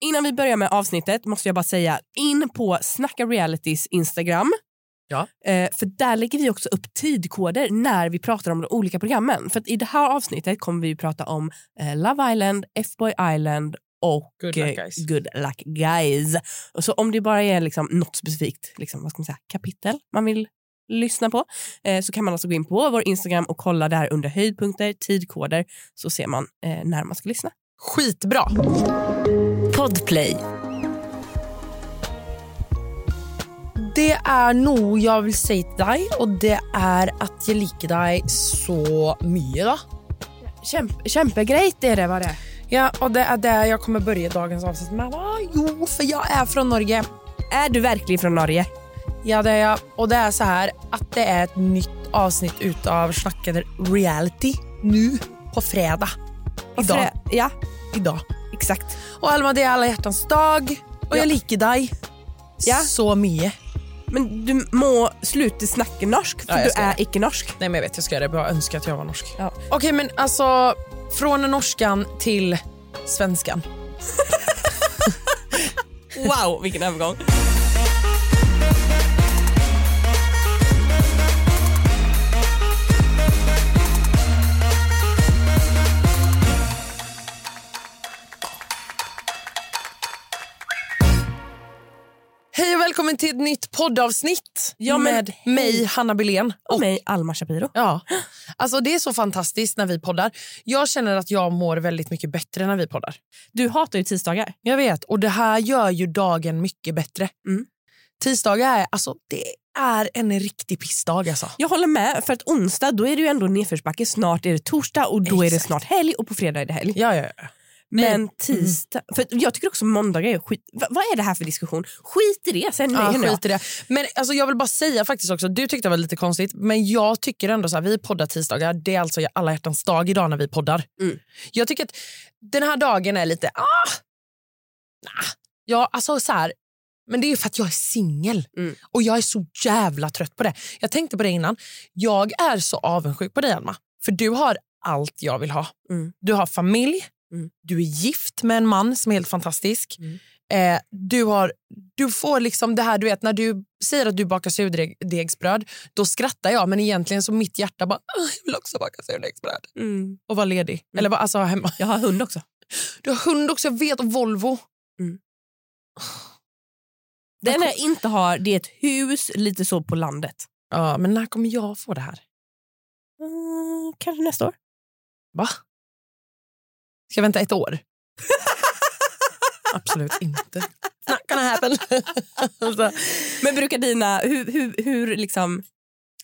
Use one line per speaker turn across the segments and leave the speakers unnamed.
Innan vi börjar med avsnittet måste jag bara säga in på Snacka Realitys Instagram.
Ja.
Eh, för där lägger vi också upp tidkoder när vi pratar om de olika programmen. För att i det här avsnittet kommer vi ju prata om eh, Love Island, F-Boy Island och
Good luck,
eh,
guys.
Good Luck Guys. Och så om det bara är liksom något specifikt liksom, vad ska man säga, kapitel man vill lyssna på eh, så kan man alltså gå in på vår Instagram och kolla där under höjdpunkter, tidkoder så ser man eh, när man ska lyssna.
Skitbra!
Podplay.
Det är noe jeg vil si til deg, og det er at jeg liker deg så mye, da.
Kämp kämpegrejt är det vad det är.
Ja, og det er det jeg kommer børje dagens avsnitt med. da. Jo, for jeg er fra Norge.
Är du verkligen från Norge?
Ja, det er jeg. Og det er så her at det er et nytt avsnitt ut av Snakker reality nå på fredag. I
Varför
dag.
är- Ja,
I dag.
exakt.
Og Elma, det er alle hjertens dag,
Ja.
og jeg liker deg
Ja.
så mye.
Men du må sluta snacka norsk för
Ja, jag
du
ska
är icke norsk.
Nej men jag vet, jag ska göra det. Jag bara önskar att jag var norsk.
Ja.
Okej men alltså, från norskan till svenskan.
Wow, vilken övergång.
Hej och välkommen till ett nytt poddavsnitt
Ja, men
med
hej.
mig, Hanna Billén.
Och mig, Alma Shapiro.
Ja, alltså det är så fantastiskt när vi poddar. Jag känner att jag mår väldigt mycket bättre när vi poddar.
Du hatar ju tisdagar.
Jag vet, och det här gör ju dagen mycket bättre.
Mm.
Tisdagar är, alltså det är en riktig pissdag alltså.
Jag håller med, för att onsdag då är det ju ändå nedförsbacke. Snart är det torsdag och då är det
Exakt.
snart helg och på fredag är det helg.
Ja, ja, ja.
Men Mm. tisdag... För att jag tycker också måndagar är skit... Va, vad är det här för diskussion? Skit i det, sen
Ja,
lägger jag.
skit i det. Men alltså, jag vill bara säga faktiskt också, du tyckte det var lite konstigt, men jag tycker ändå så här, vi poddar tisdagar, det är alltså alla hjärtans dag idag när vi poddar.
Mm.
Jag tycker att den här dagen är lite, ah, nah. ja alltså så här, men det är ju för att jag är singel
Mm.
och jag är så jävla trött på det. Jag tänkte på det innan, jag är så avundsjuk på dig Alma, för du har allt jag vill ha.
Mm.
Du har familj,
Mm.
du är gift med en man som är helt fantastisk.
Mm.
Eh, du, har, du får liksom det här, du vet när du säger att du bakar surdegsbröd, då skrattar jag men egentligen så mitt hjärta bara, "Ah, jag vill också baka surdegsbröd.
Mm.
Och vara ledig. Eller vara alltså hemma.
Jag har hund också.
Du har hund också, jag vet, och Volvo.
Det enda jag inte har det är ett hus lite så på landet.
Ja, men när kommer jag få det här?
Mm, kanske nästa år.
Va? Ska jag vänta ett år? Absolut inte. Not gonna happen. alltså,
Men brukar dina... Hur, hur, hur liksom...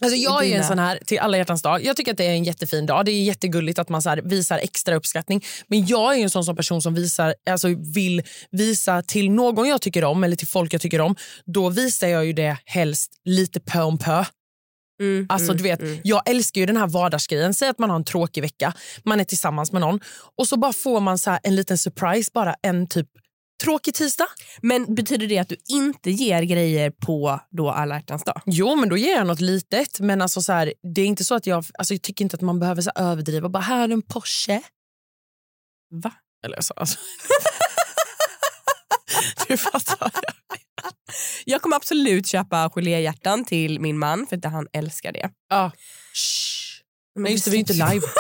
Alltså jag är ju en
Dina.
sån här till alla hjärtans dag. Jag tycker att det är en jättefin dag. Det är jättegulligt att man så här visar extra uppskattning. Men jag är ju en sån som person som visar, alltså vill visa till någon jag tycker om eller till folk jag tycker om. Då visar jag ju det helst lite pö om pö.
Mm,
Alltså,
mm,
du vet,
mm.
Jag älskar ju den här vardagsgrejen. Säg att man har en tråkig vecka, man är tillsammans med någon och så bara får man så här en liten surprise, bara en typ tråkig tisdag.
Men betyder det att du inte ger grejer på då alla hjärtans dag?
Jo, men då ger jag något litet. Men alltså så här, det är inte så att jag, alltså jag tycker inte att man behöver så här överdriva. Bara, här är en Porsche.
Va?
Eller så. Alltså. du fattar.
Jag kommer absolut köpa geléhjärtan till min man för att han älskar det.
Ja. Shh. Nej, just det, vi är ju inte live.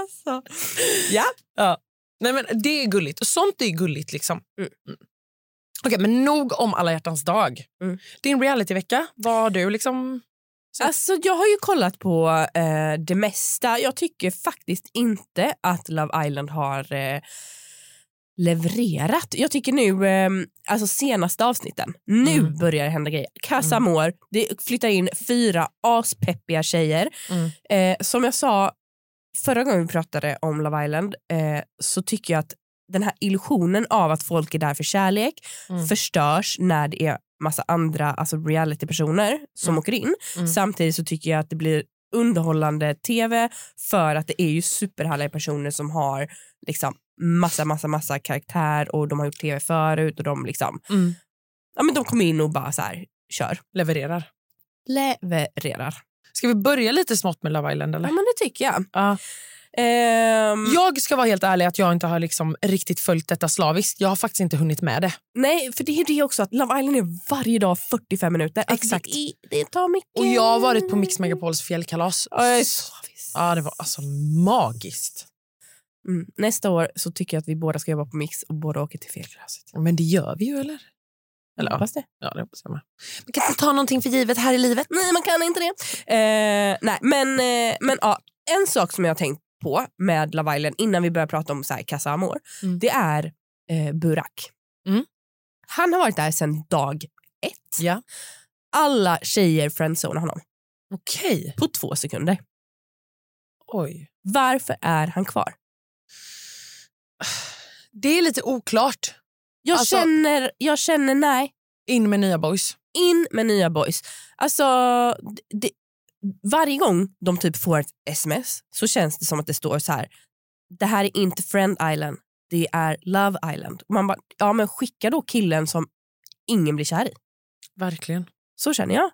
Alltså.
Nej, men det är gulligt. Och Sånt är gulligt. liksom.
Mm.
Mm. Okej, men nog om alla hjärtans dag.
Mm.
Din realityvecka, vad har du liksom...
alltså jag har ju kollat på eh, det mesta. Jag tycker faktiskt inte att Love Island har eh, levererat. Jag tycker nu, eh, alltså senaste avsnitten, nu
Mm.
börjar det hända grejer. Casa
Mm.
Amor, det flyttar in fyra aspeppiga tjejer.
Mm.
Eh, som jag sa förra gången vi pratade om Love Island eh, så tycker jag att den här illusionen av att folk är där för kärlek
Mm.
förstörs när det är massa andra alltså realitypersoner som
Mm.
åker in.
Mm.
Samtidigt så tycker jag att det blir underhållande tv för att det är ju superhärliga personer som har liksom massa, massa, massa karaktär och de har gjort tv förut och de liksom,
Mm.
ja men de kommer in och bara så här kör.
Levererar.
Levererar.
Ska vi börja lite smått med Love Island?
Ja
Eller?
men det tycker jag.
Ja.
Ehm,
Jag ska vara helt ärlig att jag inte har liksom riktigt följt detta slaviskt. Jag har faktiskt inte hunnit med det.
Nej, för det är det också att Love Island är varje dag 45 minuter. Alltså,
Exakt.
Det, är- det tar mycket.
Och jag har varit på Mix Megapols fjällkalas.
Ja, jag är
Så-
så viss.
Ja, det var alltså magiskt.
Mm. Nästa år så tycker jag att vi båda ska jobba på Mix och båda åker till fel klass.
Men det gör vi ju, eller? Eller ja,
Hoppas det.
ja det hoppas jag med. Man kan inte ta någonting för givet här i livet.
Nej, man kan inte det. Eh, nej, men, eh, men ja, en sak som jag har tänkt på med Love Island innan vi börjar prata om så här, Casa Amor,
Mm.
det är eh, Burak.
Mm.
Han har varit där sedan dag ett.
Ja.
Alla tjejer friendzonar honom
Okej.
på två sekunder.
Oj.
Varför är han kvar?
Det är lite oklart.
Jag,
Alltså-
känner, jag känner nej.
In med nya boys.
in med nya boys. Alltså, det, varje gång de typ får ett sms så känns det som att det står så här. Det här är inte Friend Island, det är Love Island. Och Man bara, ja men skicka då killen som ingen blir kär i.
Verkligen.
Så känner jag.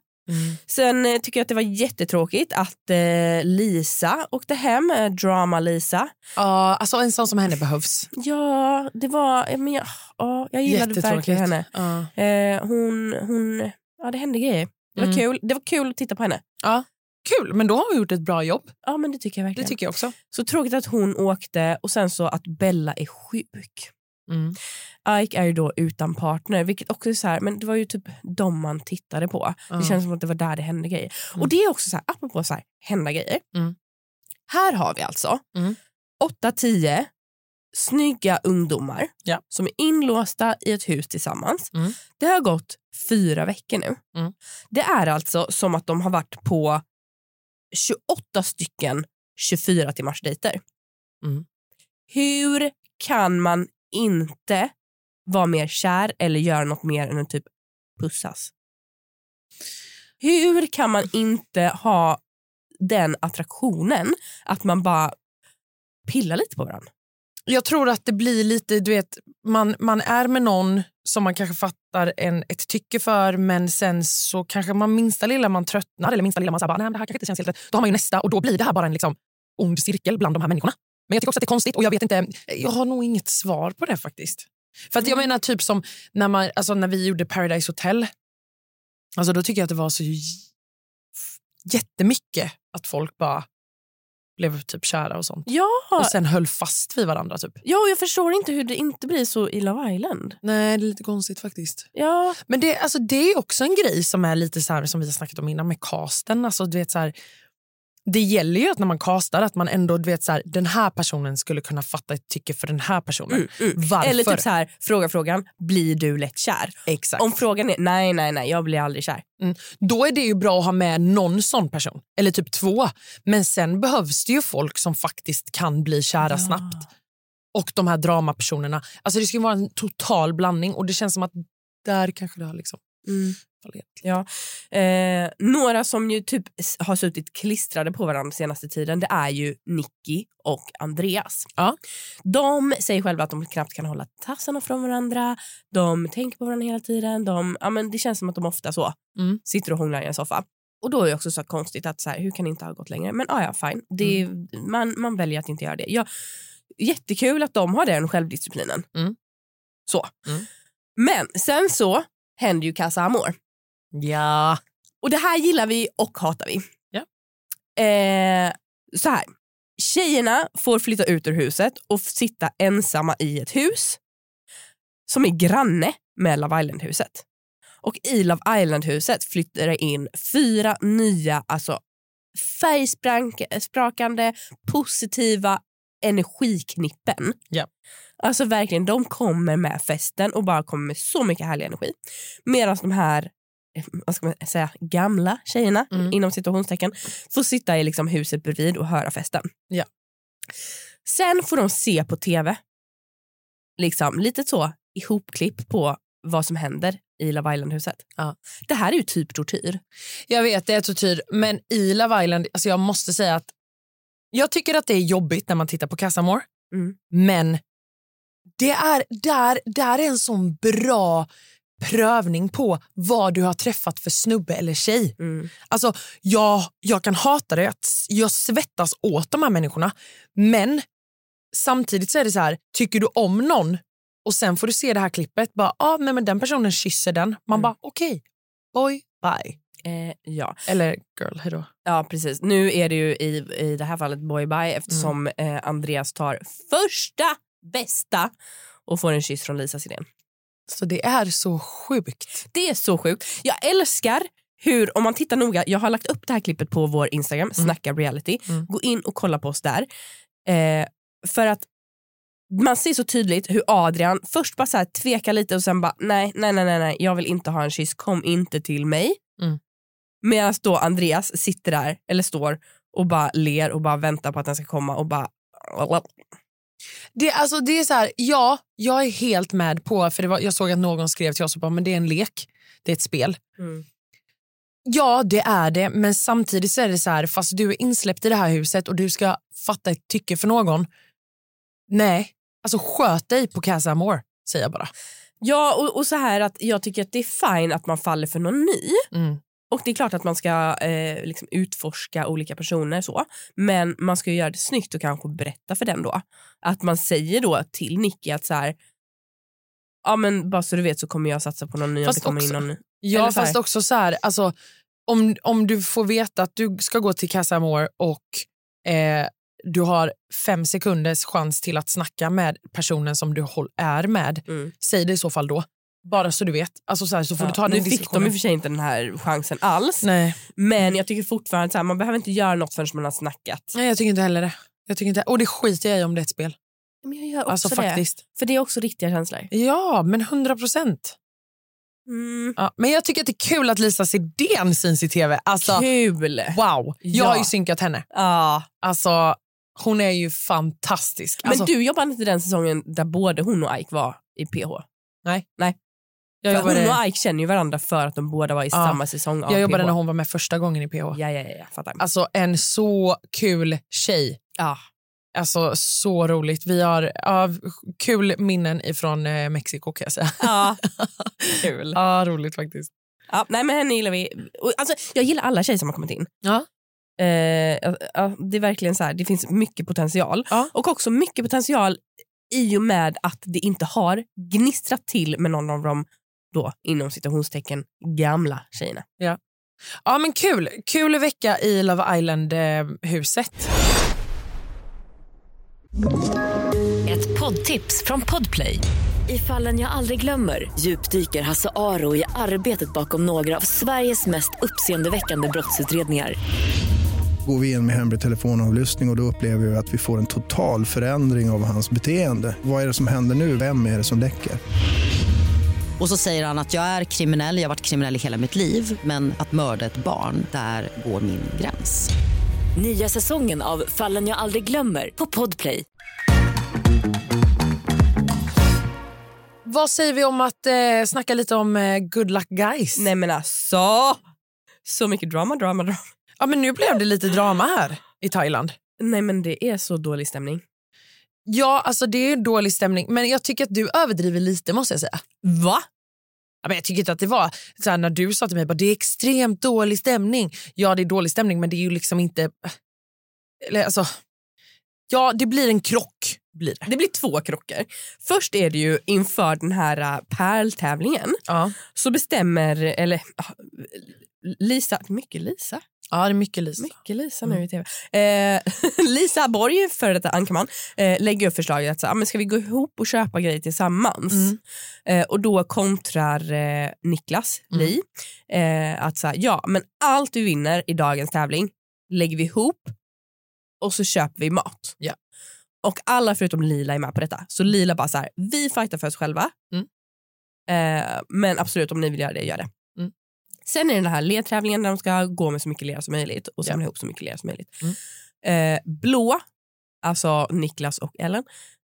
Sen eh, tycker jag att det var jättetråkigt att eh, Lisa åkte hem, eh, Drama-Lisa.
Ja, alltså en sån som henne behövs.
Ja, det var... eh, Men jag, ja, jag gillade
Jättetråkigt.
verkligen henne.
Ja.
Eh, hon, hon... Ja, det hände grejer. Det var,
Mm.
kul. det var kul att titta på henne.
Kul, men då har vi gjort ett bra jobb.
Ja, men det tycker jag
Det
verkligen.
tycker jag också.
Så tråkigt att hon åkte och sen så att Bella är sjuk.
Mm.
Ike är ju då utan partner, vilket också är så här, men det var ju typ dem man tittade på. Det känns som att det var där det hände grejer.
Mm.
Och det är också så här, apropå så här, hända grejer.
Mm.
Här har vi alltså
Mm.
8-10 snygga ungdomar
Ja.
som är inlåsta i ett hus tillsammans.
Mm.
Det har gått fyra veckor nu.
Mm.
Det är alltså som att de har varit på 28 stycken 24 timmars dejter.
Mm.
Hur kan man inte vara mer kär eller göra något mer än att typ pussas? Hur kan man inte ha den attraktionen att man bara pillar lite på varandra?
Jag tror att det blir lite, du vet, man, man är med någon som man kanske fattar en, ett tycke för men sen så kanske man minsta lilla man tröttnar eller minsta lilla man så här bara, nej men det här kanske inte känns helt rätt. Då har man ju nästa och då blir det här bara en liksom ond cirkel bland de här människorna. Men jag tycker också att det är konstigt och jag vet inte, jag har nog inget svar på det faktiskt. För att jag menar typ som när, man, alltså när vi gjorde Paradise Hotel, alltså då tycker jag att det var så j- jättemycket att folk bara blev typ kära och sånt.
Ja,
Och sen höll fast vid varandra typ.
ja och jag förstår inte hur det inte blir så i Love Island.
Nej, det är lite konstigt faktiskt.
Ja,
Men det, alltså, det är också en grej som är lite så här, som vi har snackat om innan med casten. Alltså, du vet, så här, det gäller ju att när man castar att man ändå du vet så här, den här personen skulle kunna fatta ett tycke för den här personen.
mm, mm.
Varför?
Eller typ så här, fråga frågan, blir du lätt kär?
Exakt.
Om frågan är nej, nej, nej, jag blir aldrig kär.
Då är det ju bra att ha med någon sån person, eller typ två. Men sen behövs det ju folk som faktiskt kan bli kära
Ja.
snabbt. Och de här dramapersonerna. Alltså, det ska ju vara en total blandning och det känns som att där kanske det har liksom
Mm.
fallerat.
Eh, några som ju typ s- har suttit klistrade på varandra senaste tiden det är ju Nicky och Andreas.
Ja.
De säger själva att de knappt kan hålla tassarna från varandra. De tänker på varandra hela tiden. De, ja, men det känns som att de ofta så
Mm.
sitter och hånglar i en soffa. Och då är det också så konstigt att så här, hur kan det inte ha gått längre? Men ah, ja, fine. Det,
Mm.
man, man väljer att inte göra det. Ja, jättekul att de har den självdisciplinen.
Mm.
Så.
Mm.
Men sen så händer ju Casa Amor.
Ja.
Och det här gillar vi och hatar vi.
Ja.
Eh, så här. Tjejerna får flytta ut ur huset och f- sitta ensamma i ett hus som är granne med Love Island-huset. Och i Love Island-huset flyttar det in fyra nya alltså färgsprakande, positiva energiknippen.
Ja.
Alltså verkligen, de kommer med festen och bara kommer med så mycket härlig energi. Medan de här eh, vad ska man säga, gamla tjejerna
Mm.
inom situationstecken får sitta i liksom huset bredvid och höra festen.
Ja.
Sen får de se på tv, liksom lite så ihopklipp på vad som händer i Love Island-huset.
Ja.
Det här är ju typ tortyr.
Jag vet, det är tortyr. Men i Love Island, alltså jag måste säga att jag tycker att det är jobbigt när man tittar på Casamore.
Mm.
Men det är, där, där är en sån bra prövning på vad du har träffat för snubbe eller tjej.
Mm.
Alltså, jag, jag kan hata det, jag, jag svettas åt de här människorna. Men samtidigt så är det så här, tycker du om någon och sen får du se det här klippet, bara, ah, nej, men den personen kysser den. Man
Mm.
bara, okej, boy, bye.
Eh, ja.
Eller girl, hejdå.
ja, precis. Nu är det ju i, i det här fallet boy
Mm.
bye eftersom eh, Andreas tar första bästa och får en kyss från Lisa Sidén.
Så det är så sjukt.
Det är så sjukt. Jag älskar hur, om man tittar noga, jag har lagt upp det här klippet på vår Instagram, Snacka reality.
Mm.
Gå in och kolla på oss där. Eh, för att man ser så tydligt hur Adrian först bara så här tvekar lite och sen bara nej, nej, nej, nej, nej, jag vill inte ha en kyss, kom inte till mig.
Mm.
Medan då Andreas sitter där, eller står och bara ler och bara väntar på att den ska komma och bara
Det, alltså, det är så här, ja, jag är helt med på, för det var, jag såg att någon skrev till oss och bara, men det är en lek, det är ett spel.
Mm.
Ja, det är det, men samtidigt så är det så här, fast du är insläppt i det här huset och du ska fatta ett tycke för någon. Nej, alltså sköt dig på Casa Amor, säger jag bara.
Ja, och, och så här att jag tycker att det är fine att man faller för någon ny.
Mm.
Och det är klart att man ska eh, liksom utforska olika personer så. Men man ska ju göra det snyggt och kanske berätta för den då. Att man säger då till Nicky att så här, ja men bara så du vet så kommer jag satsa på någon ny om
Fast
det kommer in
också-
någon ny. Eller
Ja,
så här-
fast också så här, alltså, om, om du får veta att du ska gå till Casa Amor och eh, du har fem sekunders chans till att snacka med personen som du håll, är med,
Mm.
säg det i så fall då. Bara så du vet. Alltså så, här, så får du ta
Ja,
den
nu fick de i och
diskussionen.
för sig inte den här chansen alls.
Nej.
Men jag tycker fortfarande så här, man behöver inte göra något förrän man har snackat.
Nej, jag tycker inte heller det. Jag tycker inte, och det skiter jag i om det är ett spel.
Men jag gör också
Alltså
det.
faktiskt.
För det är också riktiga känslor.
Ja, men 100 procent.
Mm.
Ja, men jag tycker att det är kul att Lisa Sidén syns i tv. Alltså,
Kul!
wow. Jag
Ja.
har ju synkat henne.
Ja.
Alltså, hon är ju fantastisk.
Men
Alltså,
du jobbade inte den säsongen där både hon och Ike var i PH?
Nej.
Nej.
Jag
För
jobbade-
hon och Ike känner ju varandra för att de båda var i
Ja.
samma säsong av
Jag jobbade
PH.
när hon var med första gången i PH.
Ja, ja, ja, ja, fattar.
Alltså en så kul tjej.
Ja.
Alltså så roligt. Vi har ja, kul minnen ifrån eh, Mexiko kan jag säga.
Ja. Kul.
Ja, roligt faktiskt.
Ja, nej, men henne gillar vi. Och, Alltså, jag gillar alla tjejer som har kommit in.
Ja.
Eh, ja, ja, det är verkligen så här, det finns mycket potential.
Ja.
Och också mycket potential i och med att det inte har gnistrat till med någon av de då, inom citationstecken, gamla tjejerna.
Ja men kul. Kul vecka i Love eh, Island-huset.
Ett poddtips från Podplay. I fallen jag aldrig glömmer djupdyker Hasse Aro i arbetet bakom några av Sveriges mest uppseendeväckande brottsutredningar.
går vi in med hemlig telefonavlyssning och, och då upplever vi att vi får en total förändring av hans beteende. Vad är det som händer nu? Vem är det som läcker?
Och så säger han att jag är kriminell, jag har varit kriminell i hela mitt liv men att mörda ett barn, där går min gräns.
Nya säsongen av Fallen jag aldrig glömmer på Podplay.
Vad säger vi om att eh, snacka lite om eh, Good Luck Guys?
Nej men alltså! Så mycket drama, drama, drama.
Ja, men nu blev det lite drama här i Thailand.
Nej men det är så dålig stämning.
Ja, alltså det är dålig stämning men jag tycker att du överdriver lite måste jag säga.
Va?
Ja, men jag tycker inte att det var så här, när du sa till mig att det är extremt dålig stämning. Ja, det är dålig stämning, men det är ju liksom inte... Eller, alltså, ja, det blir en krock. Blir det.
Det blir två krockar. Först är det ju inför den här äh, pärltävlingen
Ja.
så bestämmer, eller ah, Lisa, mycket Lisa,
ja, det är mycket Lisa. Mm.
mycket Lisa nu i tv. Eh, Lisa Borg, före detta Ankerman, eh, lägger upp förslaget att så, här, "Ah, men ska vi gå ihop och köpa grejer tillsammans?
Mm.
Eh, och då kontrar eh, Niklas
Mm.
Li eh, att så här, ja men allt vi vinner i dagens tävling lägger vi ihop och så köper vi mat.
Ja.
Och alla förutom Lila är med på detta. Så Lila bara så här, vi fightar för oss själva.
Mm.
Eh, men absolut om ni vill göra det, gör det.
Mm.
Sen är det den här ledtävlingen där de ska gå med så mycket lera som möjligt och samla ihop så mycket lera som möjligt.
Mm.
Eh, blå, alltså Niklas och Ellen,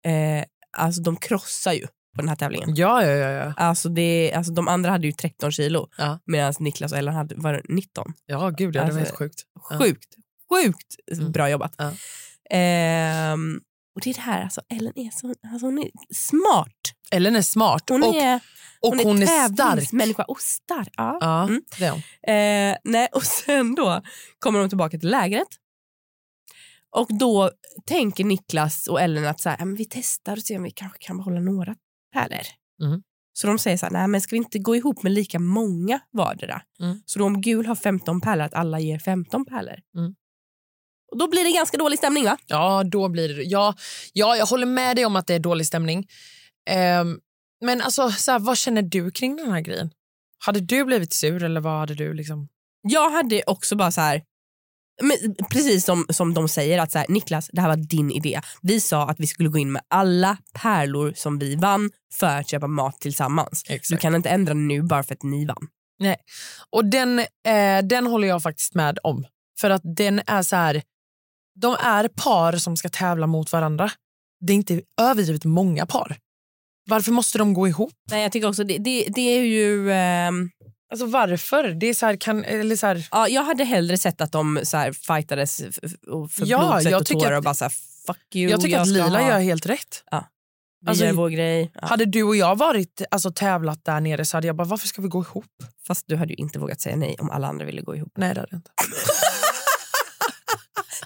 eh, alltså de krossar ju på den här tävlingen.
Ja, ja, ja. ja.
Alltså det, alltså de andra hade ju 13 kilo
Ja.
medan Niklas och Ellen hade var det 19.
Ja, gud, ja, det
Alltså,
var helt sjukt. Ja.
Sjukt, sjukt
Mm.
bra jobbat.
Ja.
Ehm, och det är det här, alltså Ellen är så alltså hon är smart.
Ellen är smart
Hon
och,
är,
och hon är, stark.
tävlingsmänniska och stark. Ja.
Ja,
Mm.
det är hon.
Eh, nej, och sen då kommer de tillbaka till lägret. Och då tänker Niklas och Ellen att så här, "Ja, men vi testar och ser om vi kanske kan behålla några pärlor.
Mm.
Så de säger så här, nej men ska vi inte gå ihop med lika många vardera?
Mm.
Så då om gul har 15 pärlor, att alla ger 15 pärlor.
Mm.
Och då blir det ganska dålig stämning va?
Ja, då blir det... Ja, ja, jag håller med dig om att det är dålig stämning. Ehm, men alltså, så här, vad känner du kring den här grejen? Hade du blivit sur eller vad hade du liksom...
Jag hade också bara så här, men precis som, som de säger att så här, Niklas det här var din idé. Vi sa att vi skulle gå in med alla pärlor som vi vann för att köpa mat tillsammans. Du kan inte ändra nu bara för att ni vann.
Och den, eh, den håller jag faktiskt med om. För att den är så här... De är par som ska tävla mot varandra. Det är inte överdrivet många par. Varför måste de gå ihop?
Nej jag tycker också det, det, det är ju, ehm,
Alltså varför? Det är så här, kan, eller så här,
ja, jag hade hellre sett att de så här, fightades f- f- och för
Ja,
blod, svett
jag
och
tycker
tårar
att-
och bara så här, fuck you.
jag tycker att
ska
Lila
ha,
gör helt rätt.
vi
alltså,
gör vår grej. Ja,
Hade du och jag varit alltså, tävlat där nere så hade jag bara, varför ska vi gå ihop?
Fast du hade ju inte vågat säga nej om alla andra ville gå ihop.
Nej, det hade jag inte.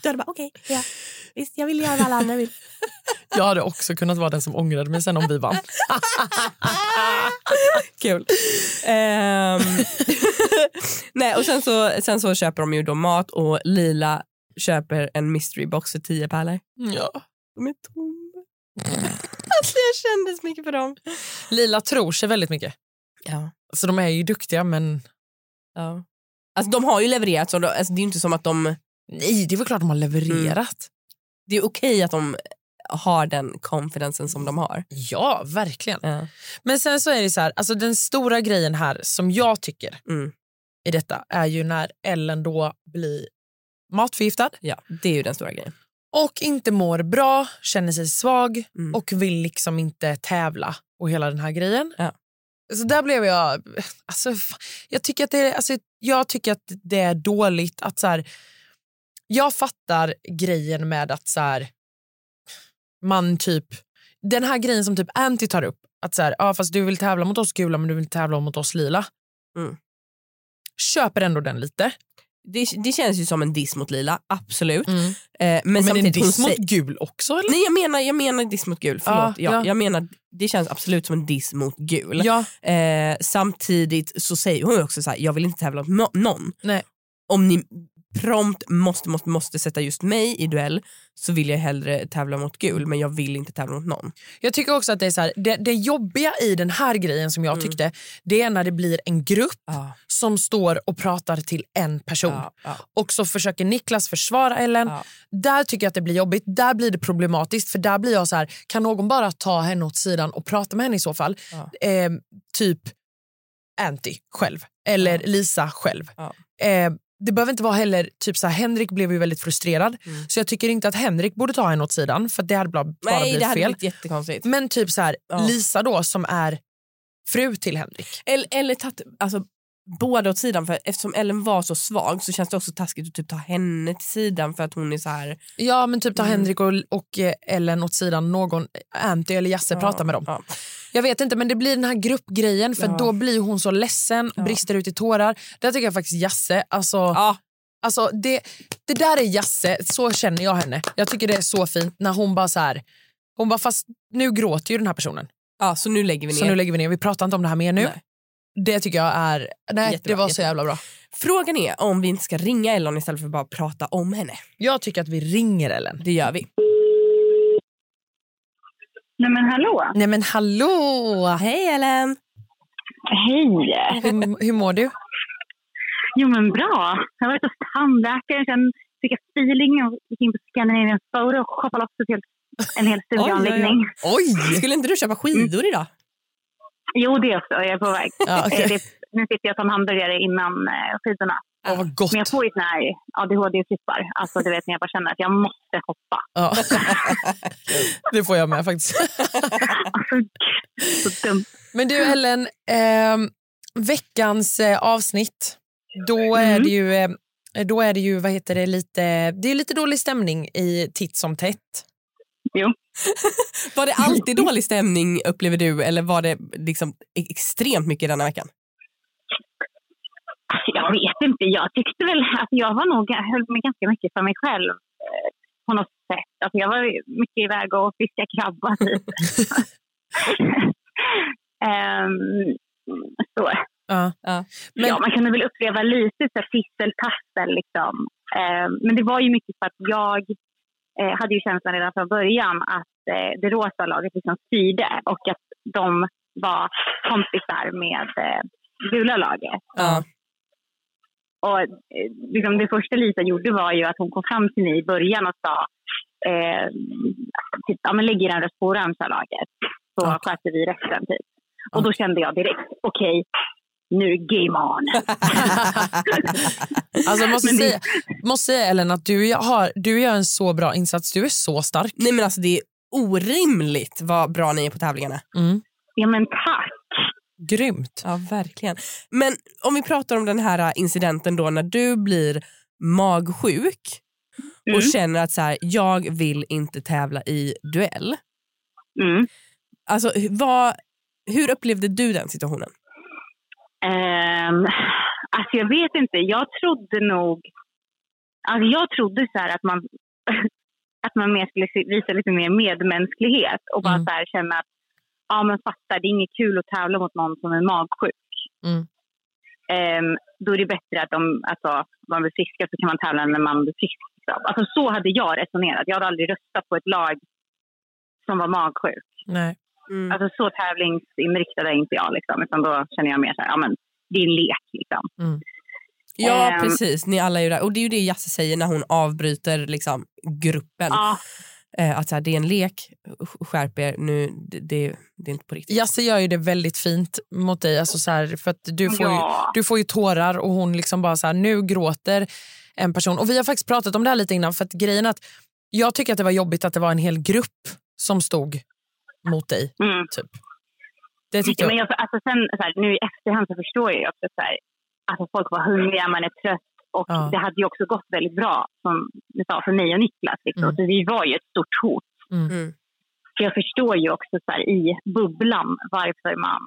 Du hade bara okej, ja. visst jag vill göra vad alla andra vill.
Jag hade också kunnat vara den som ångrade mig sen om vi vann.
Kul. Ehm, nej, och sen så, sen så köper de ju då mat och Lila köper en mystery box för 10 pärlor.
Ja.
De är tomma. alltså jag kände så mycket för dem.
Lila tror sig väldigt mycket.
Ja.
Så de är ju duktiga, men...
ja. Alltså de har ju levererat så de- alltså, det är ju inte som att de,
Nej, det är väl klart de har levererat.
det är okej att de har den konfidensen som de har.
Mm. Ja, verkligen.
Ja.
Men sen så är det så här, alltså den stora grejen här som jag tycker
Mm.
i detta är ju när Ellen då blir matförgiftad
ja, det är ju den stora grejen.
och inte mår bra, känner sig svag
Mm.
och vill liksom inte tävla och hela den här grejen.
Ja.
Så där blev jag... Alltså, fa- jag, tycker att det är, alltså, jag tycker att det är dåligt att så här, Jag fattar grejen med att så här, man typ... Den här grejen som typ Anty tar upp. Att så här, ja, fast du vill tävla mot oss gula men du vill inte tävla mot oss lila.
Mm.
Köper ändå den lite.
det, det känns ju som en diss mot Lila, absolut.
Mm.
Eh, men
Men, en
samtidigt, hon
diss mot
säger-
gul också? Eller?
Nej jag menar, jag menar diss mot gul, förlåt. ja,
Ja, ja.
Jag menar, det känns absolut som en diss mot gul.
Ja,
Eh, samtidigt så säger hon ju också så här, jag vill inte tävla mot nå- någon.
Nej.
Om ni prompt måste, måste, måste sätta just mig i duell så vill jag hellre tävla mot gul men jag vill inte tävla mot någon.
Jag tycker också att det är så här, det, det jobbiga i den här grejen som jag
Mm.
tyckte, det är när det blir en grupp
Ja,
som står och pratar till en person.
ja, ja,
Och så försöker Niklas försvara Ellen.
ja.
Där tycker jag att det blir jobbigt. Där blir det problematiskt. För där blir jag så här, kan någon bara ta henne åt sidan och prata med henne i så fall?
Ja.
Eh, typ Anty själv. Eller
Ja.
Lisa själv.
Ja.
Eh, det behöver inte vara heller, typ så här, Henrik blev ju väldigt frustrerad.
Mm.
Så jag tycker inte att Henrik borde ta henne åt sidan. För det hade bara, bara
Nej
blivit
det hade
fel.
blivit jättekonstigt.
Men typ så här,
Ja.
Lisa då som är fru till Henrik.
Eller, eller tatt, alltså, båda åt sidan för eftersom Ellen var så svag så känns det också taskigt att typ ta henne till sidan för att hon är så här.
Ja men typ ta
Mm.
Henrik och, och eh, Ellen åt sidan, någon Anty eller Jasse
Ja,
pratar med dem.
ja.
Jag vet inte men det blir den här gruppgrejen för
Ja.
då blir hon så ledsen,
Ja.
brister ut i tårar. Där tycker jag faktiskt Jasse, alltså,
Ja,
alltså det, det där är Jasse, så känner jag henne. Jag tycker det är så fint när hon bara så här, hon bara fast nu gråter ju den här personen.
ja, ah, så nu lägger vi ner.
Så nu lägger vi ner, vi pratar inte om det här mer nu.
Nej.
Det tycker jag är, nej det
Jättebra,
var så
jättebra.
jävla bra.
Frågan är om vi inte ska ringa Ellen istället för att bara prata om henne.
Jag tycker att vi ringer Ellen.
Det gör vi.
Nej men hallå!
Nej men hallå!
Hej Ellen!
Hej!
Hur, hur mår du?
Jo men bra! Jag har varit hos tandläkaren, sen fick jag feeling och gick in på Scandinavian Photo och shoppade loss ett helt, en hel studioanläggning.
Oj!
Skulle inte du köpa skidor idag?
Jo det också, jag är på väg.
Ja,
Eh,
okay.
Det, nu sitter jag som hamburgare innan eh, skidorna.
oh, vad gott.
Men jag får ju såna här ADHD-flippar. Alltså du vet när jag bara känner att jag måste hoppa.
Ja. det får jag med faktiskt.
Alltså gud, så dumt.
Men du Ellen, ehm, veckans eh, avsnitt, då är
Mm.
det ju, eh, då är det ju vad heter det, lite, det är lite dålig stämning i titt som tätt.
Jo.
Var det alltid dålig stämning upplever du eller var det liksom e- extremt mycket denna veckan?
Alltså, jag vet inte. Jag tyckte väl att jag var nog, jag höll mig ganska mycket för mig själv eh, på något sätt. Alltså, jag var ju mycket iväg och fiskade krabba typ. Ehm, så.
Ja.
Ja.
Men,
Ja, man kunde väl uppleva lite så här fisseltassel liksom. Ehm, men det var ju mycket för att jag eh, hade ju känslan redan från början att eh, det rosa laget liksom styrde och att de var kompisar med eh, gula laget.
Ja.
Och eh, liksom det första Lisa gjorde var ju att hon kom fram till mig i början och sa eh, typ, ja, men lägg er en röst på orangea laget så
Okej.
sköter vi resten. Typ. Och då kände jag direkt, okej, nu är game on.
alltså, jag måste,
Men det-
säga, måste säga Ellen att du har, du gör en så bra insats. Du är så stark.
Nej men alltså det är orimligt vad bra ni är på tävlingarna.
Mm.
Ja men tack.
Grymt.
Ja verkligen. Men om vi pratar om den här äh, incidenten då när du blir magsjuk
Mm.
och känner att så här, jag vill inte tävla i duell.
Mm.
Alltså, hu- vad, hur upplevde du den situationen?
Ehm, alltså jag vet inte. Jag trodde nog... Alltså jag trodde så här att man, att man mer skulle se- visa lite mer medmänsklighet och bara
Mm.
så här känna att ja, men fattar, det är inget kul att tävla mot någon som är magsjuk.
Mm.
Ehm, då är det bättre att de, alltså, om man blir friska så kan man tävla när man blir frisk. Liksom. Alltså så hade jag resonerat. Jag hade aldrig röstat på ett lag som var magsjuk.
Nej.
Alltså så tävlingsinriktad är inte jag. Liksom. Utan då känner jag mer så här, ja men det är en lek liksom.
Ja,
Ehm.
precis. Ni alla är ju där. Och det är ju det Jasse säger när hon avbryter liksom, gruppen.
Ja,
Eh, att så här, det är en lek, Sk- skärp er nu, det, det, det är inte på riktigt.
Jasse gör ju det väldigt fint mot dig. Alltså så här, för att du får ju
ja.
Du får ju tårar och hon liksom bara så här, nu gråter en person. Och vi har faktiskt pratat om det här lite innan för att grejen är att jag tycker att det var jobbigt att det var en hel grupp som stod mot dig.
Mm.
Typ. Det tyckte
Men
jag.
jag, alltså sen, så här, nu i efterhand så förstår jag ju också så här, alltså folk var hungriga, man är trött och
Ja.
det hade ju också gått väldigt bra som ni sa för mig och Niklas. Liksom.
Mm.
Så vi var ju ett stort hot.
Mm.
Mm.
Så jag förstår ju också så här, i bubblan varför man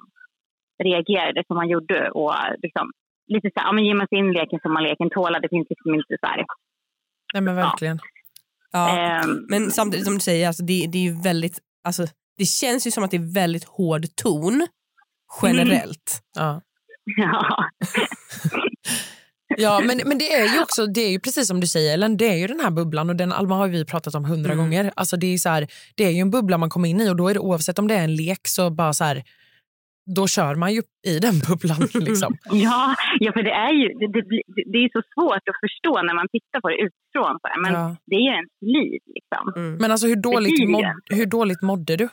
reagerade som man gjorde och liksom lite så här, ja men ger man sig in i leken som man leken tåla. Det finns liksom inte så här.
Nej, men verkligen.
Ja. eh.
ehm,
Men samtidigt som du säger, alltså, det, det är ju väldigt, alltså, det känns ju som att det är väldigt hård ton generellt.
Ja.
ja.
Ja, men, men det är ju också, det är ju precis som du säger Ellen, det är ju den här bubblan och den Alma har ju vi pratat om hundra
Mm.
gånger. Alltså det är, ju så här, det är ju en bubbla man kommer in i och då är det oavsett om det är en lek så bara så här, då kör man ju i den bubblan liksom.
Ja, ja, för det är ju det, det, blir- det, det är så svårt att förstå när man tittar på det utifrån. Så här. Men
Ja.
det är ju ens liv. Liksom.
Men alltså hur dåligt,
blir
mod,
det.
hur dåligt mådde du?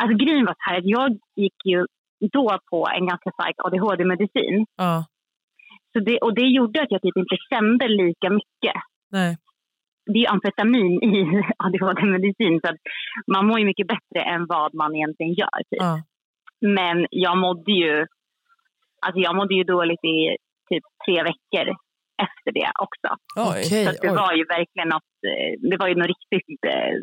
Alltså, grejen var så här att jag gick ju då på en ganska stark ADHD-medicin.
Ja,
Så det, och det gjorde att jag typ inte kände lika mycket.
nej.
Det är ju amfetamin i ADHD-medicin så att man mår ju mycket bättre än vad man egentligen gör. Typ.
Ja.
Men jag mådde ju alltså jag mådde ju dåligt i typ tre veckor efter det också.
Oj.
Okej,
Så att det
oj.
var ju verkligen något, eh, det var ju något riktigt eh,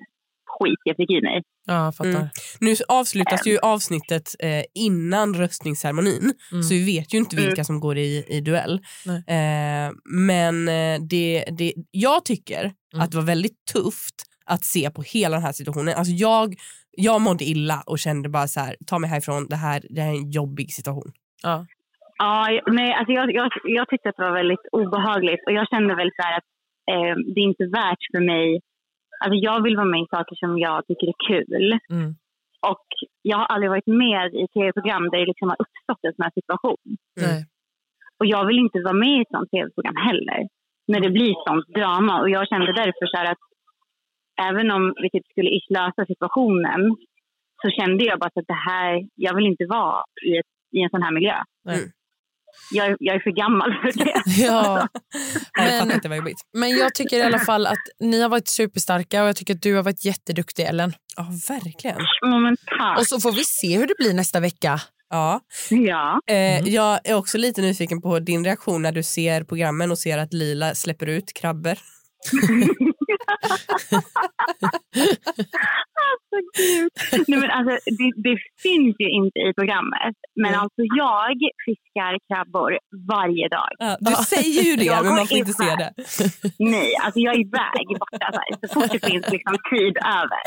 skit jag fick i mig.
Ja, jag fattar.
Mm. Nu avslutas ju avsnittet eh, innan röstningsceremonin
Mm.
så vi vet ju inte
Mm.
vilka som går i, i duell.
Nej.
Eh, men eh, det, det, jag tycker
Mm.
att det var väldigt tufft att se på hela den här situationen. Alltså jag, jag mådde illa och kände bara så här, ta mig härifrån, det här, det här är en jobbig situation.
Ja.
Ja, jag- nej, alltså jag, jag, jag tyckte att det var väldigt obehagligt och jag kände väl så här att eh, det är inte värt för mig, alltså jag vill vara med i saker som jag tycker är kul
Mm.
och jag har aldrig varit med i tv-program där det liksom har uppstått en sån här situation
Mm.
Nej.
och jag vill inte vara med i ett sånt tv-program heller när det blir sånt drama och jag kände därför så här att även om vi typ skulle ish lösa situationen så kände jag bara så att det här, jag vill inte vara i, ett, i en sån här miljö.
Nej.
Mm.
Jag, är- jag är för gammal för det.
Ja.
Jag
Men,
fattar att det var jobbigt.
men jag tycker i alla fall att ni har varit superstarka och jag tycker att du har varit jätteduktig Ellen.
Ja, verkligen.
Ja, men tack.
Och så får vi se hur det blir nästa vecka. Mm.
Ja.
Ja.
Eh, Jag är också lite nyfiken på din reaktion när du ser programmen och ser att Lila släpper ut krabbor.
Alltså, gud. Nej, men alltså, det, det syns ju inte i programmet, men
Mm.
alltså jag fiskar krabbor varje dag.
Ja, du säger ju det,
Jag
men
går
man får inte
in
se
här.
det.
Nej, alltså jag är iväg borta så, här. så fort det finns liksom, tid över.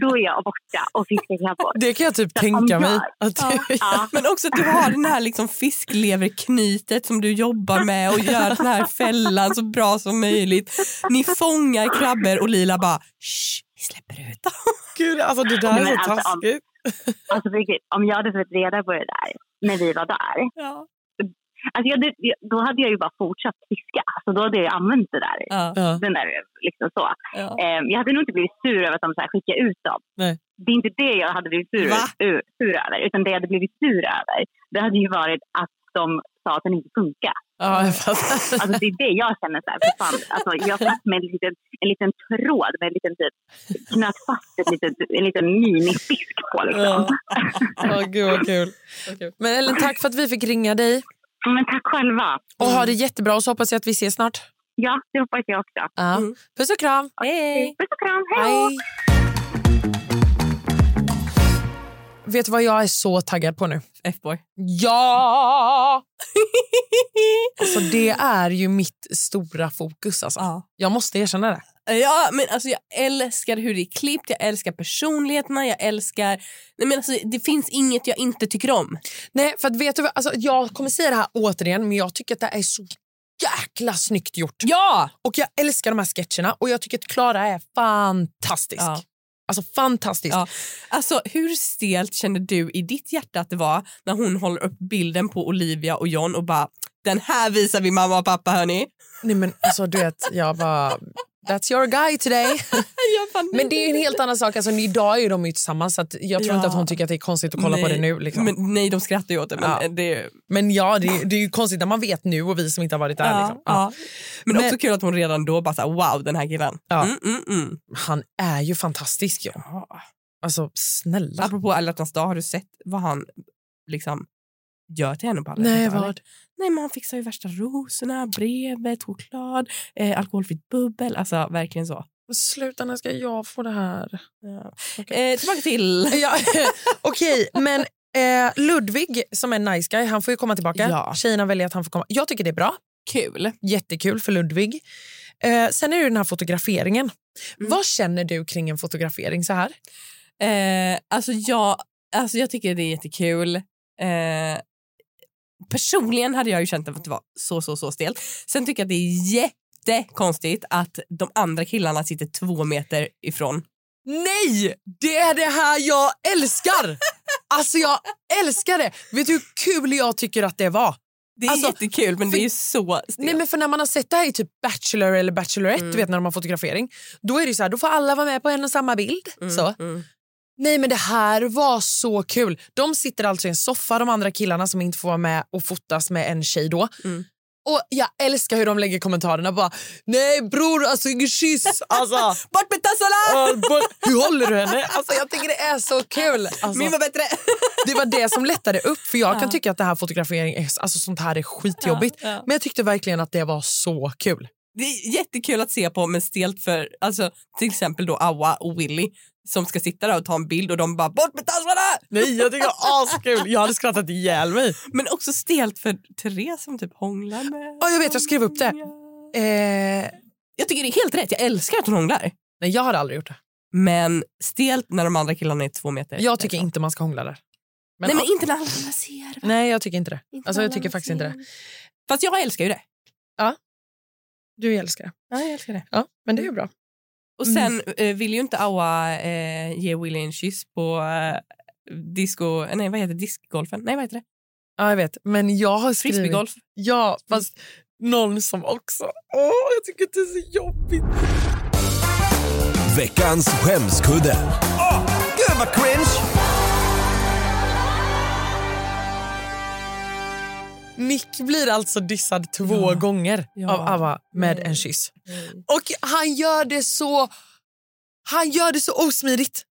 Då är jag borta och fiskar krabbor.
Det kan jag typ
Så om
tänka
jag-
mig. Att
Ja.
du,
Ja.
Men också att du har den här liksom fiskleverknytet som du jobbar med och gör den här fällan så bra som möjligt. Ni fångar krabbor och Lila bara Shh, vi släpper ut dem.
gud, alltså det där
Nej,
är
men
så
alltså, om-
taskigt.
Alltså, på riktigt, om jag hade fått reda på det där när vi var där,
Ja.
alltså, jag, hade- då hade jag ju bara fortsatt fiska. Alltså, då hade jag ju använt det där.
Ja,
Ja.
Den där liksom så.
ja.
Eh, jag hade nog inte blivit sur över att de så här skickade ut dem.
Nej.
Det är inte det jag hade blivit sur,
Va?
ur, sur över, utan det jag hade blivit sur över det hade ju varit att de sa att den inte funkar.
Ja, jag fattar.
Alltså, det är det jag känner. Så här, för fan, alltså, jag satt med en liten, en liten tråd, med en liten, typ, knöt fast ett litet, en liten minifisk på. Liksom.
Ja. Ja, gud vad kul. Men Ellen, tack för att vi fick ringa dig.
Men tack själva.
Och
Mm.
ha det jättebra och så hoppas jag att vi ses snart.
Ja, det hoppas jag också.
Ja.
Mm.
Puss och kram.
Hej!
Puss och kram, hej då!
Hej. Vet du vad jag är så taggad på nu?
F-boy.
Ja! alltså det är ju mitt stora fokus. Alltså.
Ja.
Jag måste erkänna det.
Ja, men alltså jag älskar hur det är klippt, jag älskar personligheterna, jag älskar... Nej, men alltså, det finns inget jag inte tycker om.
Nej, för att vet du vad? Alltså, jag kommer säga det här återigen, men jag tycker att det här är så jäkla snyggt gjort.
Ja!
Och jag älskar de här sketcherna och jag tycker att Klara är fantastisk.
Ja.
Alltså fantastisk.
Ja. Alltså, hur stelt kände du i ditt hjärta att det var när hon håller upp bilden på Olivia och John och bara den här visar vi mamma och pappa hörni.
Nej men alltså du vet, jag bara... That's your guy today. Men det är ju en helt annan sak. Alltså, idag är ju de ju tillsammans så att jag tror
Ja.
inte att hon tycker att det är konstigt att kolla på det nu. Liksom. Men,
Men, nej, de skrattar ju åt det. Men,
Ja.
det,
ja, det, det är ju konstigt när man vet nu och vi som inte har varit där.
ja,
liksom. ja.
ja. Men,
Men-
också kul att hon redan då bara såhär, wow den här killen.
Ja.
Mm, mm, mm.
Han är ju fantastisk. Ja. Alltså snälla.
Apropå alla hjärtans dag, har du sett vad han liksom gör till henne på alla
Nej,
hjärtans dag, eller?
vad?
Nej, men han fixar ju värsta rosorna, brevet, choklad, eh, alkoholfritt bubbel. Alltså verkligen så.
Sluta, när ska jag få det här?
Ja.
Okej.
Eh, tillbaka till...
Ja, Okej, men eh, Ludvig som är nice guy, han får ju komma tillbaka.
Ja.
Tjejerna väljer att han får komma. Jag tycker det är bra.
Kul.
Jättekul för Ludvig. Eh, sen är det ju den här fotograferingen.
Mm.
Vad känner du kring en fotografering så här?
Eh, alltså, jag, alltså jag tycker det är jättekul. Eh, personligen hade jag ju känt att det var så, så, så stelt. Sen tycker jag att det är jättekonstigt att de andra killarna sitter två meter ifrån.
Nej! Det är det här jag älskar! Alltså jag älskar det! Vet du hur kul jag tycker att det var?
Det är
Alltså,
jättekul men
för-
det är så stelt.
Nej, men för när man har sett det här i typ Bachelor eller Bachelorette,
Mm.
du vet när de har fotografering, då är det ju så här, då får alla vara med på en och samma bild. Så.
Mm.
Nej men det här var så kul. De sitter alltså i en soffa, de andra killarna som inte får vara med och fotas med en tjej då.
Mm.
Och jag älskar hur de lägger kommentarerna bara, nej bror alltså ingen kyss, alltså.
Bort med tassarna!
Ah, but- Hur håller du henne? Alltså, jag tycker det är så kul. Alltså,
Min var bättre!
det var det som lättade upp. För Jag
Ja.
kan tycka att det här fotografering är, alltså, sånt här är skitjobbigt.
Ja, ja.
Men jag tyckte verkligen att det var så kul.
Det är jättekul att se på men stelt för alltså, till exempel då Awa och Willy som ska sitta där och ta en bild och de bara bort med tassarna!
Nej, jag tycker askul. Jag hade skrattat ihjäl mig.
Men också stelt för Therese som typ hånglar med...
Ja, jag vet, jag skrev upp det. Eh,
Jag tycker det är helt rätt. Jag älskar att hon hånglar.
nej, jag hade aldrig gjort det.
Men stelt när de andra killarna är två meter.
Jag tycker inte man ska hångla där. Men,
Nej, men
ah,
inte när alla ser. va?
nej, jag tycker inte det.
Inte
Alltså,
när
jag
alla
tycker faktiskt inte det.
ser. Fast jag älskar ju det.
Du älskar det.
Ja, jag älskar det.
Ja, men det är ju bra. Mm.
Och sen eh, vill ju inte Awa eh, ge Willy en kyss på eh, disco... eh, Nej, vad heter det? Diskgolfen? Nej, vad heter det?
Ja, jag vet. Men jag har skrivit...
Frisbeegolf.
Ja, fast någon som också... Åh, jag tycker att det är så jobbigt.
Veckans skämskudde. Åh, gud vad cringe!
Nick blir alltså dissad två
Ja.
gånger
Ja. Mm.
av Ava med
Nej.
en kyss.
Nej.
Och han gör det så... Han gör det så osmidigt.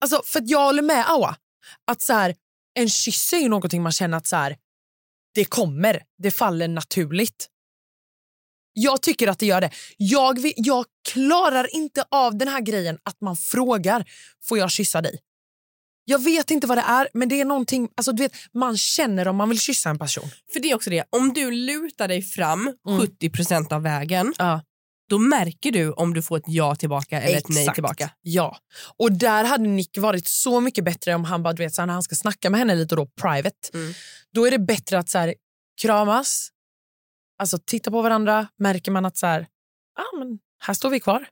Alltså, för att jag håller med Awa. Att så här, en kyss är ju någonting man känner att så här, det kommer. Det faller naturligt. Jag tycker att det gör det. Jag, vill- jag klarar inte av den här grejen att man frågar får jag kyssa dig. Jag vet inte vad det är, men det är någonting... Alltså, du vet, man känner om man vill kyssa en person.
För det är också det, om du lutar dig fram
Mm.
70 av vägen
Ja.
då märker du om du får ett ja tillbaka eller ett nej tillbaka.
Ja. Och där hade Nick varit så mycket bättre om han bara, du vet, så här, när han ska snacka med henne lite då private.
Mm.
Då är det bättre att så här, kramas, alltså titta på varandra. Märker man att så här, ah, men här står vi kvar.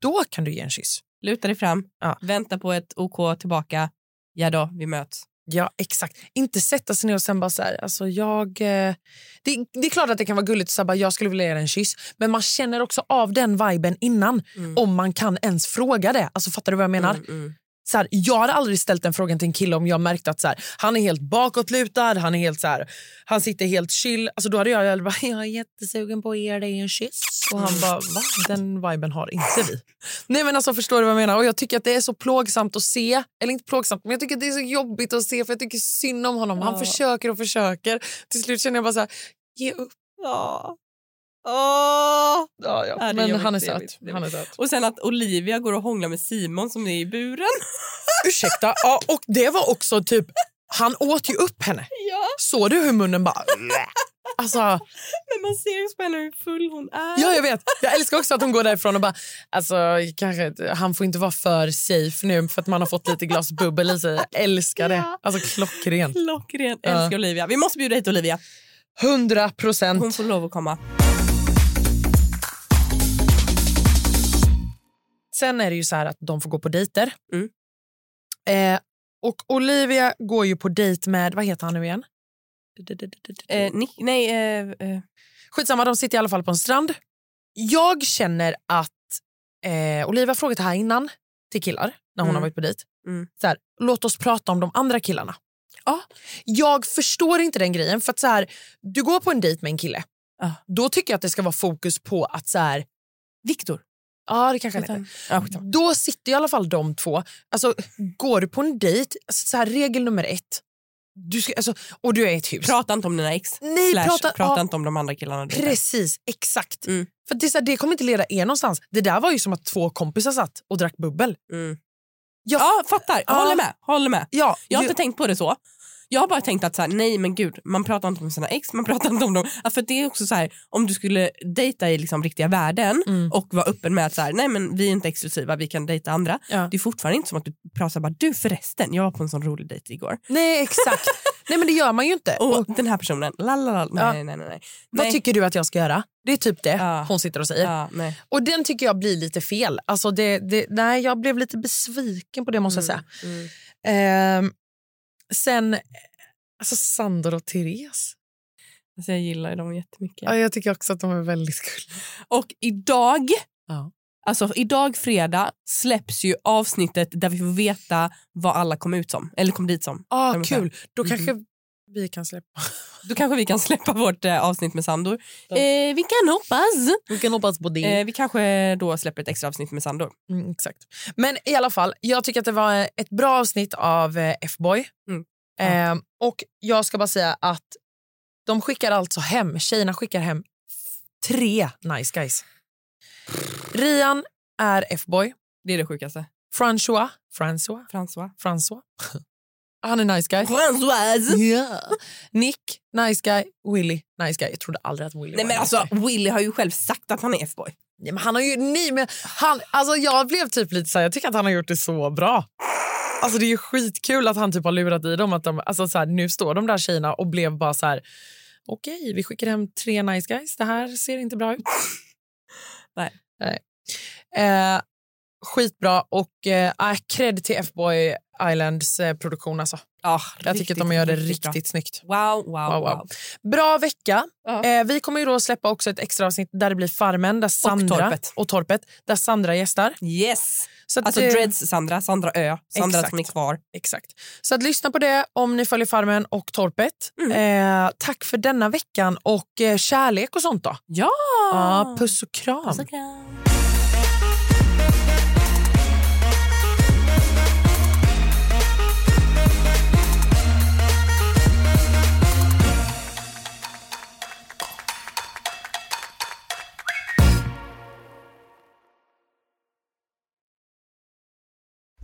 Då kan du ge en kyss.
Luta dig fram,
Ja.
vänta på ett OK tillbaka. Ja då, vi möts.
Ja, exakt. Inte sätta sig ner och sen bara så här, alltså jag... eh, Det, det är klart att det kan vara gulligt att säga bara, jag skulle vilja ge er en kyss. Men man känner också av den viben innan.
Mm.
Om man kan ens fråga det. Alltså fattar du vad jag menar?
Mm, mm.
Så här, jag hade aldrig ställt den frågan till en kille om jag märkte att så här, han är helt bakåtlutad, han är helt så här, han sitter helt chill. Alltså då hade jag, jag bara, jag är jättesugen på att ge dig en kyss. Och han bara, va? Den viben har inte vi. Nej men alltså förstår du vad jag menar? Och jag tycker att det är så plågsamt att se, eller inte plågsamt, men jag tycker att det är så jobbigt att se för jag tycker synd om honom. Han
Ja.
försöker och försöker. Till slut känner jag bara så här, ge upp. Ja. Åh! Ja,
det är
ja. Men
jobbigt,
han är
det är jobbigt,
söt.
det är
Han är söt.
Och sen att Olivia går och hånglar med Simon som är i buren.
Ursäkta, ja, och det var också typ... Han åt ju upp henne.
Ja.
Såg du hur munnen bara... Alltså,
Men man ser ju på henne hur full hon är.
ja, jag vet. Jag älskar också att hon går därifrån och bara... Alltså, kanske, han får inte vara för safe nu för att man har fått lite glas bubbel i sig. Jag älskar det.
Ja.
Alltså klockrent.
Klockren.
Ja.
Älskar Olivia. Vi måste bjuda hit Olivia.
100 procent.
Hon får lov att komma.
Sen är det ju så här att de får gå på dejter.
Mm.
Eh, och Olivia går ju på dejt med... Vad heter han nu igen?
Eh, Nick, nej, eh, eh,
Skitsamma, de sitter i alla fall på en strand. Jag känner att eh, Olivia har frågat det här innan till killar när hon
Mm.
har varit på dejt.
Mm.
Så här, låt oss prata om de andra killarna. Ja. Jag förstår inte den grejen. För att så här, Du går på en dejt med en kille.
Ja.
Då tycker jag att det ska vara fokus på att... så här,
Viktor.
Ja, det kanske han heter.
Utan- Ja, skitsamma.
Då sitter i alla fall de två. Alltså, går du på en dejt, alltså, så här, regel nummer ett. Du ska, alltså, och du är i ett hus.
Prata inte om dina ex.
Nej,
Slash,
prata-
prata,
ja.
inte om de andra killarna. du dejtar.
Precis, exakt.
Mm.
För det, är så här, det kommer inte leda er någonstans. Det där var ju som att två kompisar satt och drack bubbel.
Mm.
Ja.
Ja, fattar.
Ja.
Håller med. Håller med.
Ja,
Jag har
ju-
inte tänkt på det så. Jag har bara tänkt att så här, nej men gud, man pratar inte om sina ex, man pratar inte om dem. Ja, För det är också så här, om du skulle dejta i liksom riktiga världen
Mm.
och vara öppen med att så här, nej men vi är inte exklusiva, vi kan dejta andra.
Ja.
Det är fortfarande inte som att du pratar bara, du förresten, jag var på en sån rolig dejt igår.
Nej, exakt. nej, men det gör man ju inte.
Och,
Och,
den här personen, lalala, nej,
Ja.
nej nej nej. nej.
Vad tycker du att jag ska göra? Det är typ det
Ja.
hon sitter och säger.
ja, nej.
Och den tycker jag blir lite fel. Alltså det, det, nej, jag blev lite besviken på det måste jag säga.
Mm.
Ehm, sen, alltså Sandor och Therese.
Alltså, jag gillar ju dem jättemycket.
Ja, jag tycker också att de är väldigt gulliga.
Och idag,
Ja.
alltså idag fredag släpps ju avsnittet där vi får veta vad alla kom ut som, eller kom dit som. Jag
Ah,
måste
kul. Då
Mhm.
kanske vi kan släppa.
Då kanske vi kan släppa vårt eh, avsnitt med Sandor. Eh, vi kan hoppas.
Vi kan hoppas på det.
Eh, vi kanske då släpper ett extra avsnitt med Sandor.
Mm, exakt. Men i alla fall, jag tycker att det var ett bra avsnitt av eh, F-boy.
Mm.
Ehm, och jag ska bara säga att de skickar alltså hem, tjejerna skickar hem tre nice guys. Rian är F-boy.
Det är det sjukaste.
François, François,
François.
François. Han är nice guy.
Françoise!
Yeah. Nick, nice guy. Willy, nice guy. Jag trodde aldrig att Willy
Nej
var
men
nice
alltså
guy.
Willy har ju själv sagt att han är F-boy.
Nej, men han har ju... Nej, men han, alltså jag blev typ lite så här, jag tycker att han har gjort det så bra. Alltså det är ju skitkul att han typ har lurat i dem. Att de, alltså så här, nu står de där tjejerna och blev bara så här... Okej, vi skickar hem tre nice guys. Det här ser inte bra ut.
Nej.
Nej. Eh, skitbra. Och eh, ah, cred till F-Boy Islands eh, produktion. Alltså.
Ah,
Jag tycker att de gör det riktigt,
bra.
snyggt.
Wow, wow, wow.
Wow, wow. Bra vecka.
Ja.
Eh, vi kommer ju då släppa också ett extra avsnitt där det blir Farmen där Sandra,
Torpet.
och torpet där Sandra gästar.
Yes!
Så att,
Alltså
eh,
Dreads Sandra, Sandra Ö, Sandra
Exakt.
som är kvar.
Exakt. Så att lyssna på det om ni följer Farmen och torpet.
Mm.
Eh, tack för denna veckan och eh, kärlek och sånt då.
Ja!
Ja, puss och kram.
Puss och kram.